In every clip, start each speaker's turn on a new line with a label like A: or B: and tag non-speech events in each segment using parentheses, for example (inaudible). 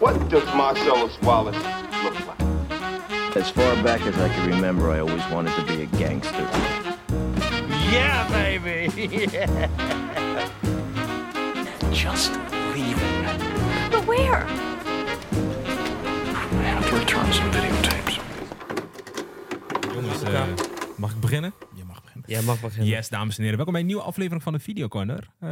A: What does Marcellus Wallace look like?
B: As far back as I can remember, I always wanted to be a gangster.
C: Yeah, baby! yeah.
D: Just leaving.
E: But where?
D: I have to return some videotapes.
F: Jongens, eh, mag ik beginnen?
G: Je mag beginnen.
H: Jij mag beginnen.
F: Yes, dames en heren. Welkom bij een nieuwe aflevering van de Videocorner. Eh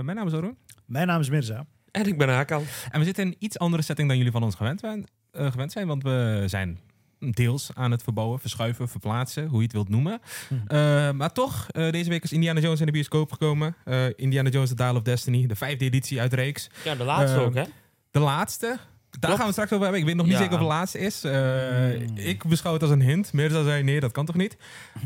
F: mijn naam is Arun.
G: Mijn naam is Mirza.
H: En ik ben Hakan.
F: En we zitten in een iets andere setting dan jullie van ons gewend, zijn- eh, gewend zijn. Want we zijn deels aan het verbouwen, verschuiven, verplaatsen, hoe je het wilt noemen.
G: Hm.
F: Eh, maar toch, eh, deze week is Indiana Jones in de bioscoop gekomen. Eh, Indiana Jones The Dial of Destiny, de vijfde editie uit de reeks.
H: Ja, de laatste
F: Eh,
H: ook, hè?
F: De laatste. Daar gaan we het straks over hebben. Ik weet nog niet
H: Ja. Hmm.
F: zeker of de laatste is. Eh, Ik beschouw het als een hint. Mirza zei, nee, dat kan toch
H: (laughs)
F: niet?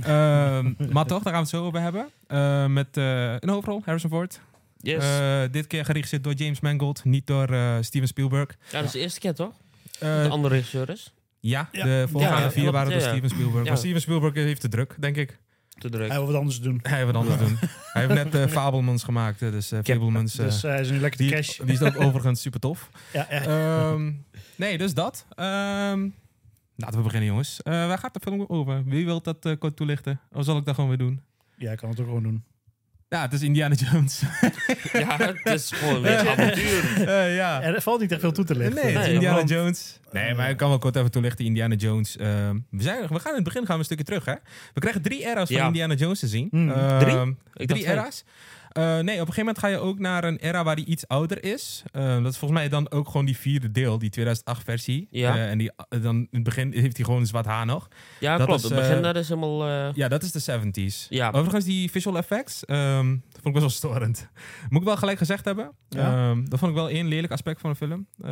F: Ehm, maar toch, daar gaan we het zo over hebben. Eh, met eh, een hoofdrol, Harrison Ford.
H: Yes.
F: Eh, dit keer geregisseerd door James Mangold, niet door eh, Steven Spielberg.
H: ja, dat is de eerste keer, toch?
F: Eh,
H: De andere regisseur is.
F: ja,
G: Ja.
F: de voorgaande
H: Ja, ja,
F: vier
H: ja,
F: waren door
H: ja, ja.
F: Steven Spielberg.
H: Ja.
F: Maar Steven Spielberg heeft de druk, denk ik.
H: Te druk.
G: Hij wil wat anders te doen.
F: Hij heeft wat anders doen. Hij heeft net eh Fabelmans gemaakt, eh, dus eh Fabelmans... eh,
G: Dus eh, hij is nu lekker
F: die,
G: de cash.
F: die is ook overigens super tof.
G: Ja, ja.
F: Ehm, nee, dus dat. Ehm, laten we beginnen, jongens. Eh, waar gaat de film over? Wie wil dat eh, kort toelichten? Of zal ik dat gewoon weer doen?
G: ja, ik kan het ook gewoon doen.
F: Ja, het is Indiana Jones. (laughs)
H: Ja, het is gewoon weer een avontuur.
F: Eh, ja.
G: Er valt niet echt veel toe te
F: Nee,
G: lichten.
F: het is
H: Nee,
F: Indiana
H: want-
F: Jones. Nee, maar ik kan wel kort even toelichten. Indiana Jones. ehm, we, zijn, we gaan in het begin gaan we een stukje terug, hè? We krijgen drie era's van
H: Ja. Mm.
F: Indiana Jones te zien.
G: Hmm.
F: Ehm,
H: Drie? Ik dacht
F: Drie
H: twee.
F: era's. Eh, nee, op een gegeven moment ga je ook naar een era waar die iets ouder is. Eh, dat is volgens mij dan ook gewoon die vierde deel, die 2008 versie.
H: Ja.
F: Eh, en die, eh, dan in het begin heeft hij gewoon een zwart haar nog.
H: Ja,
F: Dat
H: klopt.
F: is,
H: het begin
F: eh,
H: daar is helemaal... eh,
F: Ja, Oh, dat is de 70s.
H: Ja.
F: Overigens, die visual effects ehm, dat vond ik best wel storend. (laughs) Moet ik wel gelijk gezegd hebben.
G: Ja.
F: Ehm, dat vond ik wel één lelijk aspect van de film. Eh,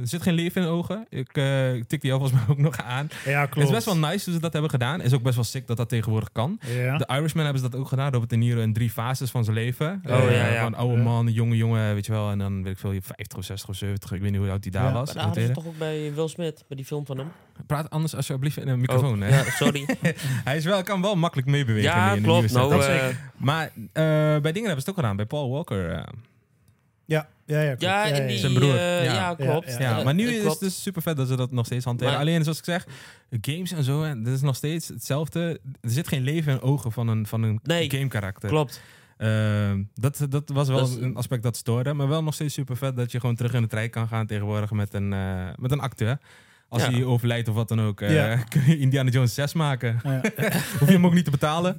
F: er zit geen leven in de ogen. Ik eh, ik tik die alvast (laughs) maar ook nog aan.
G: Ja, klopt.
F: Het is best wel nice hoe ze dat hebben gedaan. is ook best wel sick dat dat tegenwoordig kan.
G: Ja.
F: De Irishman hebben ze dat ook gedaan. Robert De Niro in drie fases van zijn leven.
H: Oh,
F: Eh,
H: ja, ja.
F: Van oude
G: Ja.
F: man, jonge jongen, weet je wel. En dan weet ik veel, je 50 of 60 of 70. Ik weet niet hoe oud die daar
G: Ja.
F: was.
H: maar daar hadden
F: Hoe
H: ze
F: het
H: toch ook bij Will Smith, bij die film van hem?
F: heette. Praat anders alsjeblieft in een microfoon.
H: Oh,
F: hè.
H: ja,
F: (laughs)
H: sorry.
F: Hij is wel, kan wel makkelijk meebewegen. in die-
H: ja,
F: in de
H: klopt.
F: nieuwe
H: Nou,
F: setup.
H: eh,
F: Maar eh, bij dingen hebben ze het ook gedaan. Bij Paul Walker. eh.
G: Ja, ja, ja. klopt.
H: ja, in die...
F: Zijn broer.
H: eh,
F: Ja.
H: ja. klopt.
G: Ja,
F: ja,
H: Eh,
F: maar nu
H: eh,
F: is het
H: klopt.
F: dus super vet dat ze dat nog steeds hanteren.
H: Maar-
F: Alleen zoals ik zeg, games en zo, en dat is nog steeds hetzelfde. Er zit geen leven in ogen van een, van een
H: Nee,
F: gamekarakter.
H: Klopt.
F: Ehm, dat, dat was wel
H: Dat is-
F: een aspect dat stoorde. Maar wel nog steeds super vet dat je gewoon terug in de trein kan gaan tegenwoordig met een, eh, met een acteur. Als
H: Ja.
F: hij overlijdt of wat dan ook, eh,
G: Ja.
F: (laughs) kun je Indiana Jones 6 maken. (laughs)
G: Ja.
F: Hoef je hem ook niet te
H: (laughs)
F: betalen.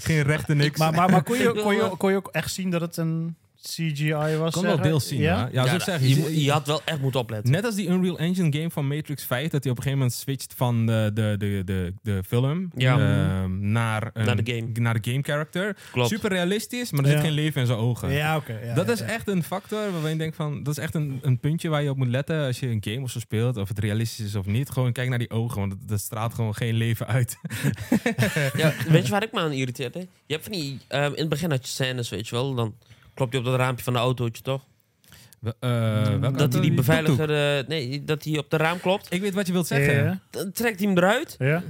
F: geen rechten, niks.
G: Maar, maar, maar kon, je,
H: Ik wil, (laughs)
G: kon, je,
H: eh,
G: kon je ook echt zien dat het een CGI was?
F: Ik kon wel
G: zeg-
F: deels zien, ja. Ja,
H: Ja,
F: zoals ik zeg,
H: je, moet- je had wel echt moeten opletten.
F: Net als die Unreal Engine game van Matrix 5, dat hij op een gegeven moment switcht van de, de, de, de, de film
H: Ja. Mhm.
F: ehm, naar, een-
H: Naar de game.
F: naar de game character.
H: Klopt.
F: Super realistisch, maar er zit
G: Ja.
F: geen leven in zijn ogen.
G: Ja, oké. ja,
F: dat
G: ja,
F: is
G: ja.
F: echt een factor waarvan je denkt van, dat is echt een, een puntje waar je op moet letten als je een game of zo speelt, of het realistisch is of niet. Gewoon kijk naar die ogen, want dat, dat straalt gewoon geen leven uit.
H: Ja, weet je waar ik me aan irriteerde? Je hebt van die... ehm, in het begin had je scènes, weet je wel. Dan klopt je op dat raampje van de autootje, toch?
F: We- eh, welke
H: Dat hij die
F: auto?
H: beveiliger...
F: Tuk-tuk.
H: eh, nee, dat hij op de raam klopt.
F: Ik weet wat je wilt zeggen.
G: Ja,
H: Dan trekt hij hem eruit.
F: (laughs)
G: ja.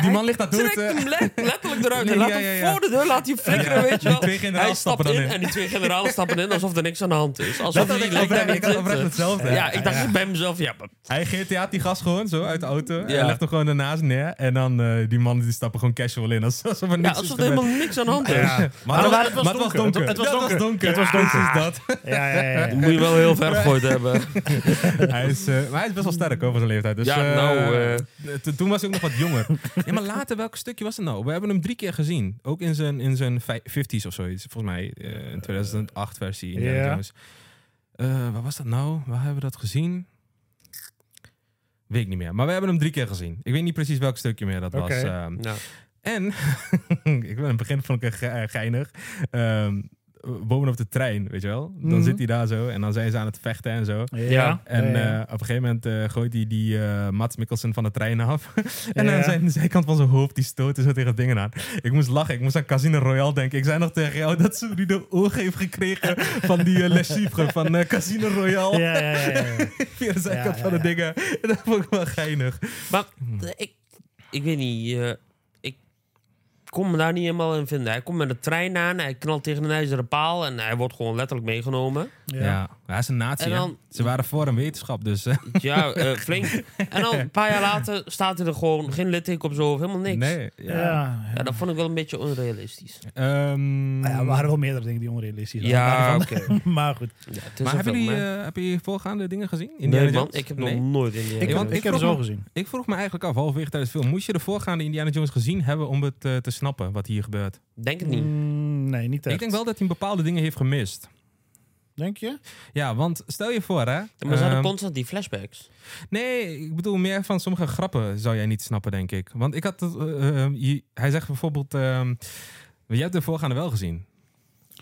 F: Die man ligt dat dood.
H: Trekt
F: eh.
H: hem le- letterlijk eruit.
F: Nee,
H: en laat
F: ja, ja,
H: hem
F: ja.
H: voor de deur laat hij flikkeren,
F: Ja,
H: weet je
F: die
H: wel.
F: twee generaals
H: hij stapt
F: stappen dan
H: in,
F: in.
H: en die twee generalen stappen in alsof er niks aan de hand is. Alsof
F: Dat had
H: die
F: ik
H: lijkt daar
F: oprecht-
H: niet
F: ik had oprecht
H: zitten.
F: hetzelfde.
H: eh, Ja, ik dacht bij mezelf, ja, maar-
F: Hij GTA die gast gewoon zo uit de auto. En
H: Ja.
F: Hij legt hem gewoon ernaast neer. En dan eh, die mannen die stappen gewoon casual in. Alsof, alsof er
H: ja,
F: niks is
H: alsof er
F: gebeurd.
H: helemaal niks aan de hand is.
F: Maar, het
G: Maar
F: was- maar het was donker.
G: Ah, Het was
F: Dat
G: donker.
F: Het was donker. Precies dat.
G: Ja, ja, ja,
F: (laughs)
G: ja.
H: Dat moet je wel heel ver gegooid (laughs) hebben.
F: hij is, eh, maar hij is best wel sterk hoor, voor zijn leeftijd. Dus,
H: Ja,
F: eh,
H: nou, eh.
F: t- toen was hij ook nog wat
G: (laughs)
F: jonger. ja, maar later, welk stukje was het nou? We hebben hem drie keer gezien. Ook in zijn, in zijn vij- 50s of zoiets. Volgens mij eh, een 2008 versie. Indiana
G: Ja.
F: Jones. Eh, waar was dat nou? Waar hebben we dat gezien? Weet ik niet meer. Maar we hebben hem drie keer gezien. Ik weet niet precies welk stukje meer dat was.
G: Oké.
F: ehm.
H: Nou,
F: En, (laughs) ik wil aan het begin vond ik het ge- eh, geinig. Ehm, bovenop de trein, weet je wel. Dan
G: Mhm.
F: zit hij daar zo en dan zijn ze aan het vechten en zo.
G: Ja.
F: En
G: ja, ja.
F: eh, op een gegeven moment eh, gooit hij die eh, Mats Mikkelsen van de trein af. (laughs) en
G: Ja.
F: aan zijn zijkant van zijn hoofd, die stoot zo tegen dingen aan. Ik moest lachen, ik moest aan Casino Royale denken. Ik zei nog tegen jou dat ze die de ogen heeft gekregen van die eh, Les Chiffres van eh, Casino Royale.
G: Ja, ja, ja, ja, ja.
F: (laughs) Via de zijkant
G: Ja,
F: van
G: ja,
F: de dingen. (laughs) En dat vond ik wel geinig.
H: Maar eh, ik, ik weet niet. eh, ik kon me daar niet helemaal in vinden. Hij komt met een trein aan, hij knalt tegen een ijzeren paal en hij wordt gewoon letterlijk meegenomen.
F: Ja. hij is een nazi.
H: En
F: hè.
H: dan-
F: Ze waren voor een wetenschap, dus eh,
H: Ja, eh, flink. En dan een paar jaar later staat hij er gewoon, geen litteken op zijn hoofd, helemaal niks.
F: (laughs) nee.
G: Ja.
F: Ja.
G: Ja.
H: Ja, dat vond ik wel een beetje onrealistisch.
F: Ehm,
H: Ah
G: Nou ja, er waren wel meerdere dingen die onrealistisch waren.
H: Ja,
G: Maar
H: oké.
G: van- (laughs) Maar goed.
H: Ja, het is
F: maar
H: een
F: hebben
H: film,
F: jullie,
H: hè?
F: eh, heb je voorgaande dingen gezien? Indiana
H: Nee, man,
F: Jones?
H: ik heb
F: Nee?
H: nog nooit in
G: Ik,
F: want
G: ik, heb
F: ik vroeg
G: het wel
F: me-
G: gezien.
F: Ik vroeg me eigenlijk af, halverwege tijdens de film, moest je de voorgaande Indiana Jones gezien hebben om het eh, te snappen wat hier gebeurt?
H: Denk het niet.
G: Mm, nee, niet echt.
F: Ik denk wel dat hij bepaalde dingen heeft gemist.
G: Denk je?
F: Ja, want stel je voor, hè?
H: Maar ze hadden
F: ehm,
H: constant die flashbacks.
F: Nee, ik bedoel meer van sommige grappen zou jij niet snappen, denk ik. Want ik had. het, eh, eh, je- hij zegt bijvoorbeeld. ehm jij hebt de voorgaande wel gezien.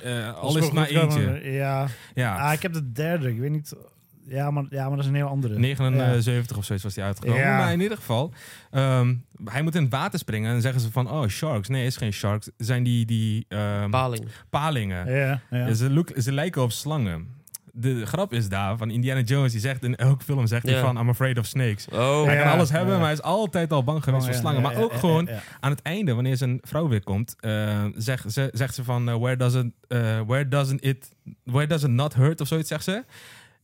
F: Eh, al is het maar eentje.
G: Ja.
F: Ja,
G: Ah, ik heb de derde. Ik weet niet. Ja maar, ja, maar dat is een heel andere.
F: 79 of zoiets was hij uitgekomen.
G: Ja.
F: Maar in ieder geval, ehm, hij moet in het water springen. En dan zeggen ze van, oh, sharks. Nee, is geen sharks. Zijn die, die ehm,
H: Paling.
F: palingen.
G: Ja, ja.
F: Ja, Ze, look- ze lijken op slangen. De grap is daar, van Indiana Jones, die zegt in elke film zegt hij
H: Ja.
F: van I'm afraid of snakes.
H: Oh,
F: Hij
G: Ja.
F: kan alles hebben,
G: ja.
F: maar hij is altijd al bang geweest
G: Oh,
F: voor
G: ja,
F: slangen.
G: ja,
F: maar
G: ja,
F: ook
G: ja,
F: gewoon
G: ja, ja.
F: aan het einde, wanneer zijn vrouw weer komt, eh, zegt, ze, zegt ze van eh, where, doesn't, eh, where, doesn't it, where does it not hurt of zoiets, zegt ze.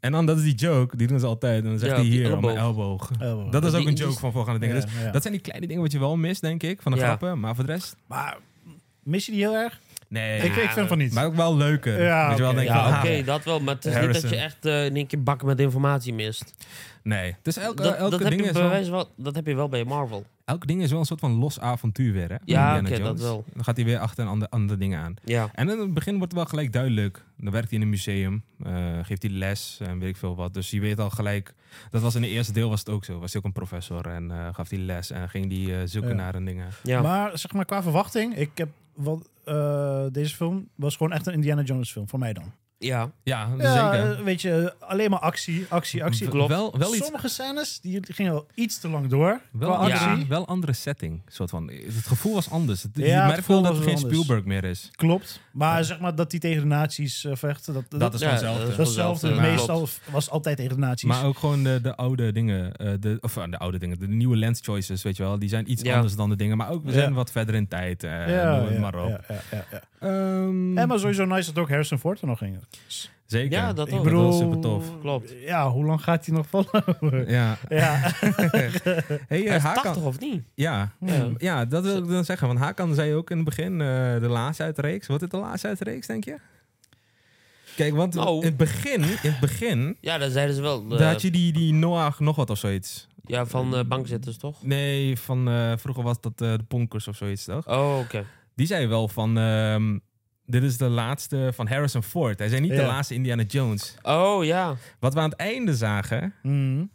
F: En dan, dat is die joke, die doen ze altijd. En dan zegt
H: Ja,
F: hij
H: op die
F: hier, on my
H: elleboog.
F: elbow.
G: Elbow.
F: Dat is
H: Die-
F: ook een
H: die-
F: joke van voorgaande dingen.
G: Ja,
F: dus
G: ja.
F: dat zijn die kleine dingen wat je wel mist, denk ik, van de
H: Ja.
F: grappen. Maar voor de rest,
G: Maar mis je die heel erg?
F: nee.
G: ik, ik vind van niet.
F: maar ook wel leuker.
G: Ja,
F: Weet je wel,
G: oké.
F: denk je
H: Ja,
F: van,
H: oké,
F: ah,
H: dat wel. Maar het is niet
F: Harrison.
H: dat je echt eh, in één keer bakken met informatie mist.
F: Nee. Dus elke,
H: dat,
F: elke,
H: dat, heb
F: ding
H: je
F: is
H: bij
F: wel,
H: wijze wel, dat heb je wel bij Marvel.
F: elke ding is wel een soort van los avontuur weer, hè? van
H: Ja,
F: Indiana
H: oké, dat
F: Jones.
H: wel.
F: Dan gaat hij weer achter een ander, andere dingen aan.
H: Ja.
F: En in het begin wordt het wel gelijk duidelijk. Dan werkt hij in een museum, eh, geeft hij les en weet ik veel wat. Dus je weet al gelijk... Dat was in het eerste deel was het ook zo. Was hij ook een professor en eh, gaf hij les en ging hij eh, zoeken
G: Ja.
F: naar een dingen.
H: ja.
G: Maar zeg maar qua verwachting, ik heb wat, eh, deze film was gewoon echt een Indiana Jones film voor mij dan.
H: ja.
F: Ja,
G: ja,
F: zeker.
G: eh, weet je, eh, alleen maar actie, actie, actie.
F: W- Wel, wel iets...
G: Sommige scènes die gingen wel iets te lang door.
F: Wel,
G: qua
F: ja,
G: actie.
F: wel andere setting. Soort van. Het gevoel was anders. Het-
G: Ja, het
F: je merkt
G: gevoel
F: wel dat
G: was
F: het
G: wel
F: geen
G: anders.
F: Spielberg meer is.
G: Klopt. Maar zeg maar dat die tegen de nazi's eh, vechten, dat,
F: Dat is
H: Ja,
F: gewoon hetzelfde.
H: dat is
G: datzelfde.
H: hetzelfde,
G: Meestal was altijd tegen de nazi's.
F: Maar ook gewoon de, de oude dingen, eh, de, of eh, de oude dingen, de nieuwe lens choices, weet je wel. Die zijn iets
H: Ja.
F: anders dan de dingen, maar ook we
G: Ja.
F: zijn wat verder in tijd. eh, noem het maar op.
G: ja, ja, ja, ja.
F: Ehm,
G: En maar sowieso nice dat ook Harrison Ford er nog ging.
F: zeker.
H: Ja, dat
G: Ik
H: ook.
F: bedoel-
G: bedoel,
F: was super tof.
H: Klopt.
G: Ja, hoe lang gaat hij nog volhouden?
F: Ja.
G: Ja,
F: Hey, eh,
H: Hij is
F: Hakan-
H: 80 of niet?
F: Ja.
H: Ja.
F: ja, dat wil ik dan zeggen. Want Hakan zei ook in het begin, eh, de laatste uit de reeks. Wordt het de laatste uit de reeks, denk je? Kijk, want
H: Nou.
F: in het begin, in het begin
H: Ja, dat zeiden ze wel. eh,
F: daar had je die, die Noah nog wat of zoiets.
H: Ja, van eh, bankzitters, toch?
F: Nee, van eh, vroeger was dat eh, de Ponkers of zoiets, toch?
H: Oh, oké.
F: Die zei wel van... ehm, dit is de laatste van Harrison Ford. Hij zei niet de
G: Ja.
F: laatste Indiana Jones.
H: Oh, ja.
F: Wat we aan het einde zagen...
G: Mm.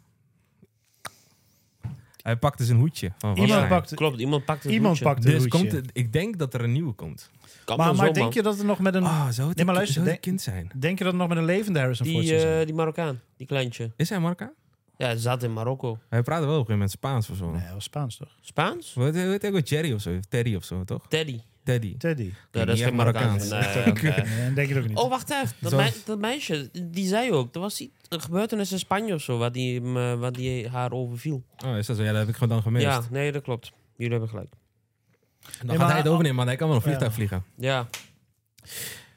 F: Hij pakte zijn hoedje. Van wat
G: Iemand
F: hij.
G: pakt-
H: Klopt, iemand pakt het
G: iemand
H: hoedje.
G: pakt het
F: Dus
G: hoedje.
F: komt, het- ik denk dat er een nieuwe komt.
H: Kan
G: Maar,
H: wel
G: maar
H: zo,
G: denk
H: man.
G: je dat er nog met een,
F: Ah, zou het,
G: Nee, maar
F: een-
G: luister,
F: zou het
G: denk-
F: een kind zijn?
G: denk je dat het nog met een levende Harrison Ford
H: Die,
G: zou zijn?
H: eh, die Marokkaan, die kleintje.
F: Is hij Marca?
H: Ja, ze zat in Marokko.
F: Hij praatte wel op een gegeven moment Spaans of zo.
G: Nee, hij was Spaans toch?
H: Spaans?
F: Hoe heet- hoe heet hij ook wel? Jerry of zo? Terry of zo, toch?
H: Teddy.
F: Teddy.
G: Teddy.
H: Ja, dat
F: niet
H: is geen
F: echt
H: Marokkaan.
F: Marokkaans.
H: Nee, oké.
G: Nee, denk ik ook niet.
H: Oh, wacht even. Dat,
F: Zoals-
H: mei- dat meisje, die zei ook. Er was iets, een gebeurtenis in Spanje of zo, waar die, hem, eh, waar die haar overviel.
F: Oh, is dat zo? Ja, dat heb ik gewoon dan gemist.
H: Ja, nee, dat klopt. Jullie hebben gelijk.
F: Dan
G: Nee,
F: gaat
G: maar-
F: hij het overnemen, maar hij kan wel een vliegtuig
G: Ja.
F: vliegen.
H: Ja.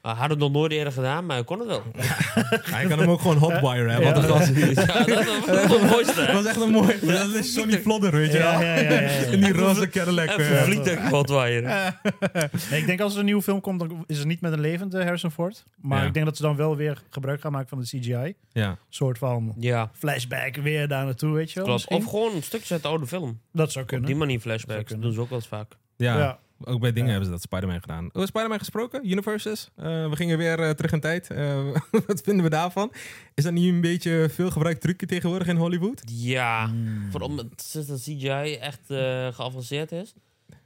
H: Hij had het nog nooit eerder gedaan, maar hij kon het wel.
F: Hij kan hem ook gewoon hotwire hebben. Wat een gast.
H: Ja, dat was het mooiste. hè?
F: Dat was echt een mooi. Dat is Sonny Vlodder, weet je
G: ja,
F: wel.
G: ja, ja, ja, ja.
F: In die roze Cadillac.
H: Even
F: eh.
H: een vliegtuig hotwire.
G: Nee, ik denk als er een nieuwe film komt, dan is het niet met een levende Harrison Ford. Maar
F: Ja.
G: ik denk dat ze dan wel weer gebruik gaan maken van de CGI.
F: Ja.
G: soort van
H: Ja,
G: flashback weer daar naartoe, weet je wel.
H: klopt.
G: misschien?
H: Of gewoon stukjes uit de oude film.
G: dat zou kunnen.
H: Op die manier
G: Zou
H: flashbacks. Dat
G: kunnen.
H: doen ze ook wel eens vaak.
F: Ja,
G: Ja.
F: ook bij dingen
G: Ja.
F: hebben ze dat Spider-Man gedaan. Oh, Spider-Man gesproken, Universes. Eh, we gingen weer eh, terug in tijd. Eh, (laughs) wat vinden we daarvan? Is dat niet een beetje veel gebruikt trucje tegenwoordig in Hollywood?
H: Ja,
G: Hmm.
H: voor om het sinds dat CGI echt eh, geavanceerd is. Ik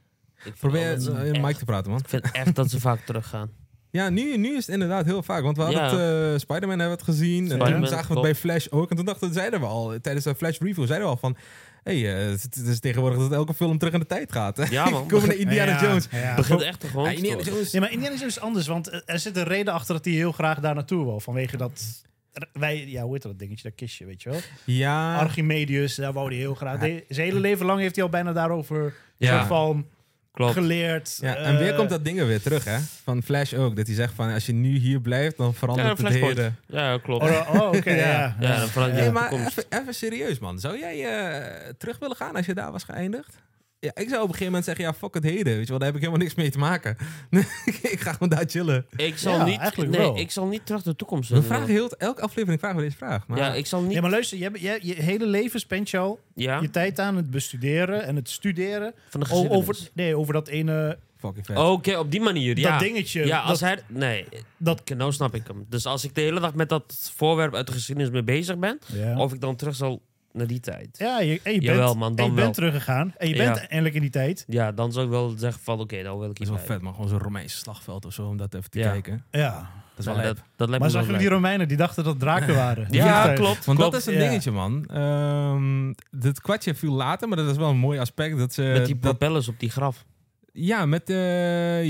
H: vind
F: Probeer
H: dat ze
F: eh, in de
H: echt-
F: mic te praten, man.
H: Ik vind echt dat ze vaak teruggaan.
F: Ja, nu, nu is het inderdaad heel vaak. Want we hadden
H: Ja.
F: het, eh, Spider-Man hebben we het gezien. en toen
H: Spider-Man,
F: zagen we het bij Flash ook. En toen dachten zeiden we al, eh, tijdens de Flash review, zeiden we al van... Hé, hey, eh, het, het is tegenwoordig dat elke film terug in de tijd gaat. (laughs) hè?
H: Ja, man. (laughs)
F: Komen naar Indiana
G: Ja,
F: Jones.
G: ja.
H: Het begint echt gewoon.
F: Ja,
H: te
F: Indiana
H: worden.
F: Jones.
G: Nee, maar Indiana Jones is anders, want eh, er zit een reden achter dat hij heel graag daar naartoe wil. Vanwege dat... r- Wij, ja, hoe heet dat dingetje? Dat kistje, weet je wel.
F: Ja,
H: Ah.
G: Archimedes, daar wou hij heel graag. De- zijn hele leven lang heeft hij al bijna daarover...
H: Ja.
G: soort van
H: Klopt.
G: geleerd.
F: Ja, en
G: eh,
F: weer komt dat ding er weer terug, hè? Van Flash ook. Dat hij zegt van, als je nu hier blijft, dan
H: ja,
F: verandert het
H: flashpoint.
F: hele...
H: Ja, klopt.
G: Oh, oh, oké,
H: (laughs)
G: ja.
H: Ja, dan verandert
F: Hé,
H: je de
F: maar (laughs)
H: toekomst.
F: even, even serieus, man. Zou jij eh, terug willen gaan als je daar was geëindigd? Ja, ik zou op een gegeven moment zeggen, ja, fuck het heden. Weet je wel, daar heb ik helemaal niks mee te maken. (laughs) ik ga gewoon daar chillen.
H: Ik zal,
G: Ja,
H: niet,
G: eigenlijk
H: nee,
G: wel.
H: ik zal niet terug de toekomst
F: We
H: in. eh,
F: vragen heel, elke aflevering vragen we deze vraag. Maar
H: Ja, ik zal
G: Nee,
H: niet...
G: maar luister, je, je, je hele leven spent je al
H: Ja,
G: je tijd aan het bestuderen en het studeren.
H: van de
G: O-
H: geschiedenis.
G: over, nee, over dat ene,
F: fucking vet.
H: Oh, Oké, op die manier, ja.
G: dat dingetje.
H: Ja, als
G: dat,
H: hij... Nee,
G: dat,
H: k- nou snap ik hem. Dus als ik de hele dag met dat voorwerp uit de geschiedenis mee bezig ben...
G: ja.
H: Of ik dan terug zal naar die tijd.
G: ja, je, en je bent,
H: Jawel, man,
G: en
H: dan
G: je
H: wel.
G: bent teruggegaan. En je bent
H: Ja.
G: eindelijk in die tijd.
H: Ja, dan zou ik wel zeggen van... Oké, dan wil ik
F: dat
H: iets
F: is wel vet, man. Gewoon zo'n Romeinse slagveld of zo, om dat even te
H: Ja.
F: kijken.
G: Ja.
F: Dat is wel lijp.
H: dat, dat lijkt
G: Maar
H: me
G: zag
H: wel
G: jullie die
H: leuk.
G: Romeinen die dachten dat
H: (laughs)
G: draken waren? Die
H: Ja,
G: vliegtuigen.
H: klopt.
F: Want
H: klopt.
F: dat is een
G: ja.
F: dingetje, man. Ehm dit kwartje viel later, maar dat is wel een mooi aspect. Dat ze,
H: Met die
F: eh, dat,
H: propellers op die graf.
F: ja, met, eh,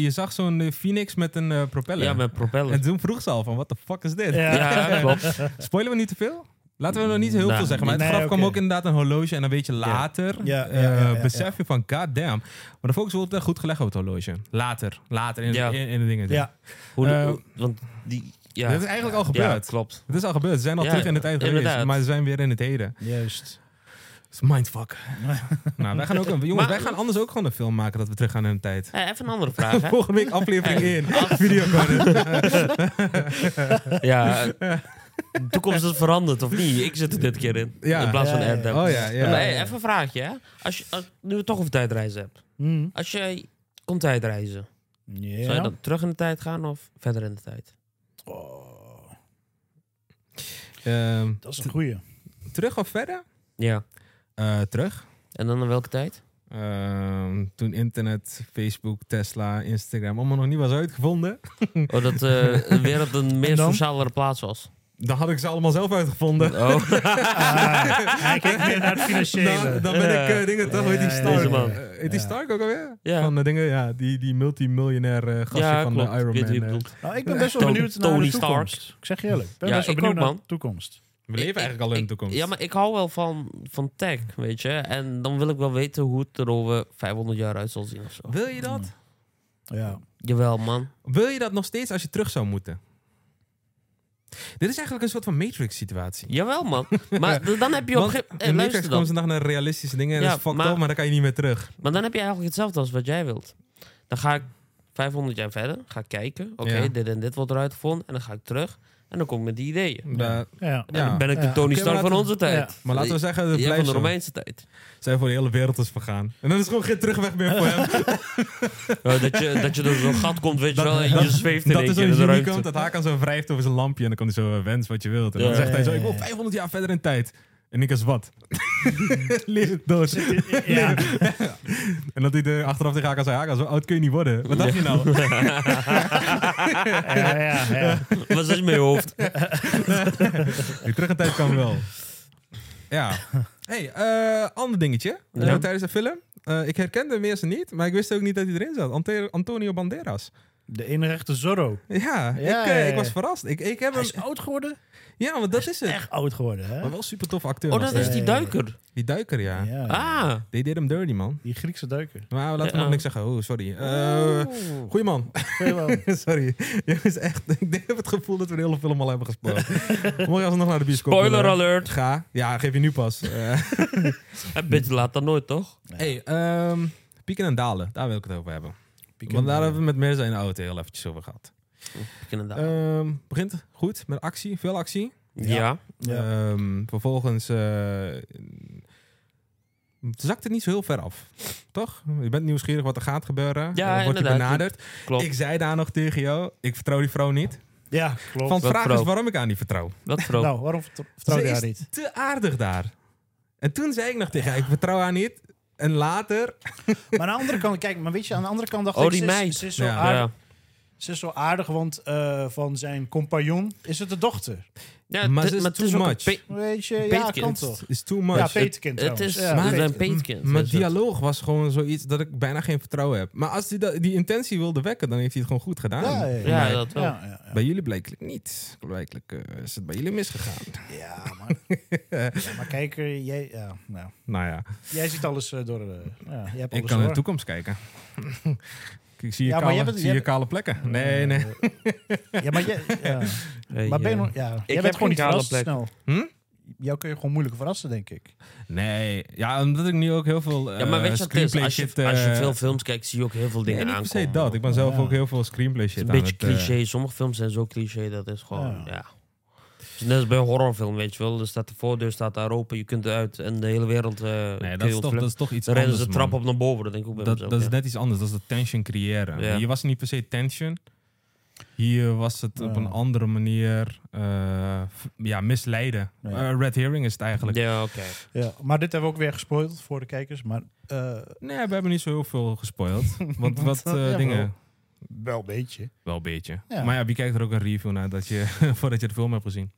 F: je zag zo'n eh, phoenix met een eh, propeller.
H: Ja, met
F: En
H: propellers.
F: toen vroeg ze al van, wat de fuck is dit?
G: Ja.
H: Ja, klopt.
F: Spoilen we niet te veel? Laten we nog niet heel
H: Nee.
F: veel zeggen. Maar het
G: Nee,
F: graf kwam
G: oké.
F: ook inderdaad een horloge. En dan weet je later,
G: Ja, ja,
F: eh,
G: ja, ja, ja.
F: besef je van goddamn. Maar de focus wordt echt goed gelegd op het horloge. Later, later in,
H: Ja.
F: in, in de dingen.
G: Ja.
H: Hoe de-
F: Eh,
H: hoe- want die... Ja,
F: Dit is eigenlijk al
H: ja
F: gebeurd.
H: klopt.
F: Het is al gebeurd. Ze zijn al
H: Ja,
F: terug in de tijd geweest.
H: inderdaad.
F: Maar ze zijn weer in het heden.
G: Juist.
F: Het is mindfuck.
G: (laughs)
F: nou, wij gaan ook, een- jongens,
H: Maar-
F: wij gaan anders ook gewoon een film maken dat we terug gaan in de tijd.
H: Eh, even een andere vraag, hè.
F: (laughs)
H: Eh,
F: Volgende week
H: (laughs)
F: aflevering
H: Hey.
F: 1. Videocorner.
H: (laughs) Ja,
F: (laughs)
H: eh, de toekomst is veranderd, of niet? Ik zit er dit keer in.
F: Ja.
H: In plaats van
G: Ja,
H: een
G: ja,
H: app.
F: Oh ja, ja.
H: Maar, hey, even een vraagje, hè. Als je, als- nu we toch over tijdreizen hebt.
G: Hm.
H: Als jij kon tijdreizen,
G: Ja.
H: zou je dan terug in de tijd gaan of verder in de tijd?
G: Oh,
F: Ehm,
G: dat is een goeie. (laughs)
F: terug of verder?
H: Ja.
F: Eh, terug.
H: En dan in welke
F: (laughs)
H: tijd?
F: Ehm, toen internet, Facebook, Tesla, Instagram allemaal nog niet was uitgevonden. (laughs)
H: Oh, dat eh, de wereld een meer
G: dan?
H: socialere plaats was.
F: Dan had ik ze allemaal zelf uitgevonden. (laughs)
H: Oh,
G: Ah, hij kijkt meer naar het financiële.
F: Dan, dan ben ik eh, dingen toch, weet die
G: Ja, ja,
F: Stark.
H: deze man.
F: Eh, heet die
G: Ja.
F: Stark ook alweer?
H: Ja.
F: Van de dingen, ja, die, die multimiljonair eh gastje
H: ja,
F: van
H: klopt.
F: de Iron
H: Ik weet
F: Man.
H: wie je
F: eh.
H: bedoelt.
G: Nou, ik ben best wel
H: Tony-
G: benieuwd naar
H: Tony
G: de toekomst. Ik zeg je eerlijk. Ik ben
H: Ja,
G: best wel
H: ik
G: benieuwd
H: ook,
G: naar
H: man.
G: de toekomst.
F: We leven
H: Ik-
F: eigenlijk al in de toekomst.
H: Ja, maar ik hou wel van, van tech, weet je. En dan wil ik wel weten hoe het er over 500 jaar uit zal zien of zo.
F: Wil je dat?
H: Hmm.
G: Ja.
H: Jawel, man.
F: Wil je dat nog steeds als je terug zou moeten? Dit is eigenlijk een soort van Matrix-situatie.
H: Jawel, man. Maar d- dan heb je op
F: Want
H: een gegeven eh,
F: in Matrix
H: luister dan.
F: komen ze nog naar realistische dingen en
H: Ja,
F: dat is fucked
H: maar-
F: up, maar dan kan je niet meer terug.
H: Maar dan heb je eigenlijk hetzelfde als wat jij wilt. Dan ga ik 500 jaar verder, ga ik kijken. Oké,
F: Ja.
H: dit en dit wordt eruit gevonden. En dan ga ik terug. En dan kom ik met die ideeën. En
F: Da-
G: Ja.
F: Ja.
H: dan ben ik
G: Ja.
H: de Tony
F: Oké,
H: Stark
F: maar
H: van
F: laten-
H: onze tijd.
F: Maar laten we zeggen, het
H: Jij van
F: blijft
H: de
F: zo.
H: Romeinse tijd.
F: Zij voor de hele wereld is vergaan. En dan is gewoon geen terugweg meer voor hem.
H: Ja, dat, je, dat je door zo'n gat komt, weet je
F: Dat-
H: wel. En
F: dat-
H: je zweeft in
F: dat
H: één
F: is
H: keer in
F: zo'n
H: de
F: genie
H: ruimte.
F: komt, dat Hakan zo wrijft over zijn lampje en dan kan hij zo eh, wens wat je wilt. En dan
H: Ja.
F: zegt hij zo,
G: Ja,
F: ik
G: ja,
F: wil
G: ja.
F: 500 jaar verder in tijd. En ik als wat? (laughs) Leef het dood.
G: Ja.
F: En dat hij de, achteraf tegen Hakan zei, Hakan, zo oud kun je niet worden. Wat dacht je nou?
G: Ja, ja,
H: (laughs)
G: ja.
H: Wat is in mijn hoofd?
F: Die terug in tijd kan wel. Ja. hey, eh, ander dingetje.
H: Ja.
F: Eh, tijdens de film. Eh, ik herkende hem eerst niet, maar ik wist ook niet dat hij erin zat. Ante- Antonio Banderas.
G: De enige echte Zorro.
F: Ja, ik,
G: Ja,
F: eh,
G: ja,
F: ik was
G: ja.
F: verrast. Ik, ik heb
G: Hij
F: hem,
G: is oud geworden.
F: ja, want dat is het.
G: Echt oud geworden, hè?
F: Maar wel super tof acteur.
H: Oh,
F: nog
H: dat is
F: steeds.
H: die duiker.
F: Die duiker, ja.
G: Ja.
H: Ah.
F: They did him dirty, man.
G: Die Griekse duiker.
F: Maar laten we
H: Ja.
F: nog niks zeggen. Oh, sorry. Eh goeie man. (laughs)
G: Goeie man.
F: sorry. Jongens, echt. (laughs) Ik denk- heb het gevoel dat we de hele film al hebben gespoord.
H: (laughs)
F: Mooi als we nog naar de bioscoop
H: Spoiler
F: willen.
H: alert.
F: Ga. Ja, geef je nu pas. Eh (laughs)
H: Een beetje laat dan nooit, toch?
F: hey, ehm, pieken en dalen. Daar wil ik het over hebben.
G: Pieken
F: Want
G: en
F: daar
G: dalen.
F: hebben we met Mirza in de auto heel eventjes over gehad.
H: Inderdaad.
F: Ehm, begint goed met actie. Veel actie.
H: ja.
G: Ja.
F: Ehm, vervolgens eh, zakt het niet zo heel ver af. Toch? Je bent nieuwsgierig wat er gaat gebeuren.
H: Ja,
F: Eh, wordt
H: inderdaad.
F: je benaderd.
H: Klopt.
F: Ik zei daar nog tegen jou, ik vertrouw die vrouw niet.
G: Ja, klopt.
F: Van
H: Wat
F: vraag
H: vrouw?
F: is waarom ik aan die vertrouw.
H: Wat voor
G: Nou, waarom vertr- vertrouw
F: Ze
G: je haar
F: is
G: niet? (laughs)
F: te aardig daar. En toen zei ik nog tegen haar, ik vertrouw haar niet. En later...
G: Maar aan de andere kant, kijk, maar weet je, aan de andere kant dacht
H: Oh,
G: ik,
H: die
G: ze is-
H: meid.
G: ze is zo
F: Ja.
G: aardig.
H: ja.
G: Ze is zo aardig, want eh, van zijn compagnon is het de dochter.
H: Ja,
F: Maar
H: het-
F: ze is
H: het is
F: too
H: ook een
F: much.
H: pe-
G: Weet je, ja,
H: Peetkind.
G: kan toch?
F: is too much.
G: Ja,
F: Het-
G: peetkind
H: Het
G: trouwens.
H: is
G: Ja,
F: maar-
G: peetkind.
H: een peetkind.
F: Mijn
H: is het.
F: dialoog was gewoon zoiets dat ik bijna geen vertrouwen heb. Maar als hij da- die intentie wilde wekken, dan heeft hij het gewoon goed gedaan.
G: Ja, ja,
H: Ja,
F: Maar
H: dat wel.
G: Ja, ja, ja.
F: Bij jullie blijkbaar niet. Blijkbaar eh, is het bij jullie misgegaan.
G: Ja, maar, (laughs) ja, maar kijk, eh, jij, ja, nou,
F: Nou ja,
G: jij ziet alles eh, door. eh, ja, jij hebt
F: ik
G: alles
F: kan in de
G: door.
F: toekomst kijken. Ik (laughs) zie
G: Ja,
F: je,
G: maar
F: kale,
G: jij bent-
F: zie
G: jij
F: je
G: bent-
F: kale plekken. Nee, nee.
G: Eh, Ja, maar, jij, (laughs) ja.
H: Hey,
G: maar ben je
H: eh,
G: nog- ja, jij
H: heb
G: bent
H: geen
G: gewoon niet
H: kale
G: verrast
H: plek.
G: snel.
F: Hm?
G: Jou kun je gewoon moeilijk verrassen, denk ik.
F: Nee, ja, omdat ik nu ook heel veel eh
H: Ja, maar weet je wat het is?
F: screenplay
H: Als je,
F: shit... eh,
H: als je veel films kijkt, zie je ook heel veel dingen
F: nee, niet per
H: aankomen.
F: se dat. Ik ben zelf
G: Ja.
F: ook heel veel screenplay
H: Het
F: shit
H: is
F: aan
H: een beetje
F: het... eh,
H: cliché. Sommige films zijn zo cliché, dat is gewoon,
G: Ja.
H: ja. Het is net als bij een horrorfilm, weet je wel. Er staat de voordeur staat daar open, je kunt eruit en de hele wereld eh kun
F: nee,
H: je
F: dat is, toch,
H: ontvluchten.
F: dat is toch iets
H: Dan rennen
F: anders,
H: ze de
F: man.
H: trap op naar boven, dat denk ik ook bij
F: Dat,
H: mezelf,
F: dat is
H: ja.
F: net iets anders. Dat is de tension creëren.
H: Ja.
F: Hier was het niet per se tension. Hier was het op
G: Ja.
F: een andere manier eh, f- ja, misleiden.
G: Ja.
F: Eh, red herring is het eigenlijk.
H: Ja, oké.
G: Ja, maar dit hebben we ook weer gespoild voor de kijkers. Maar eh,
F: Nee, we hebben niet zo heel veel gespoild. (laughs) Want wat
G: Ja,
F: eh,
G: wel.
F: dingen...
G: wel een beetje.
F: Wel een beetje.
G: Ja.
F: Maar ja, wie kijkt er ook een review naar dat je, (laughs) voordat je de film hebt gezien?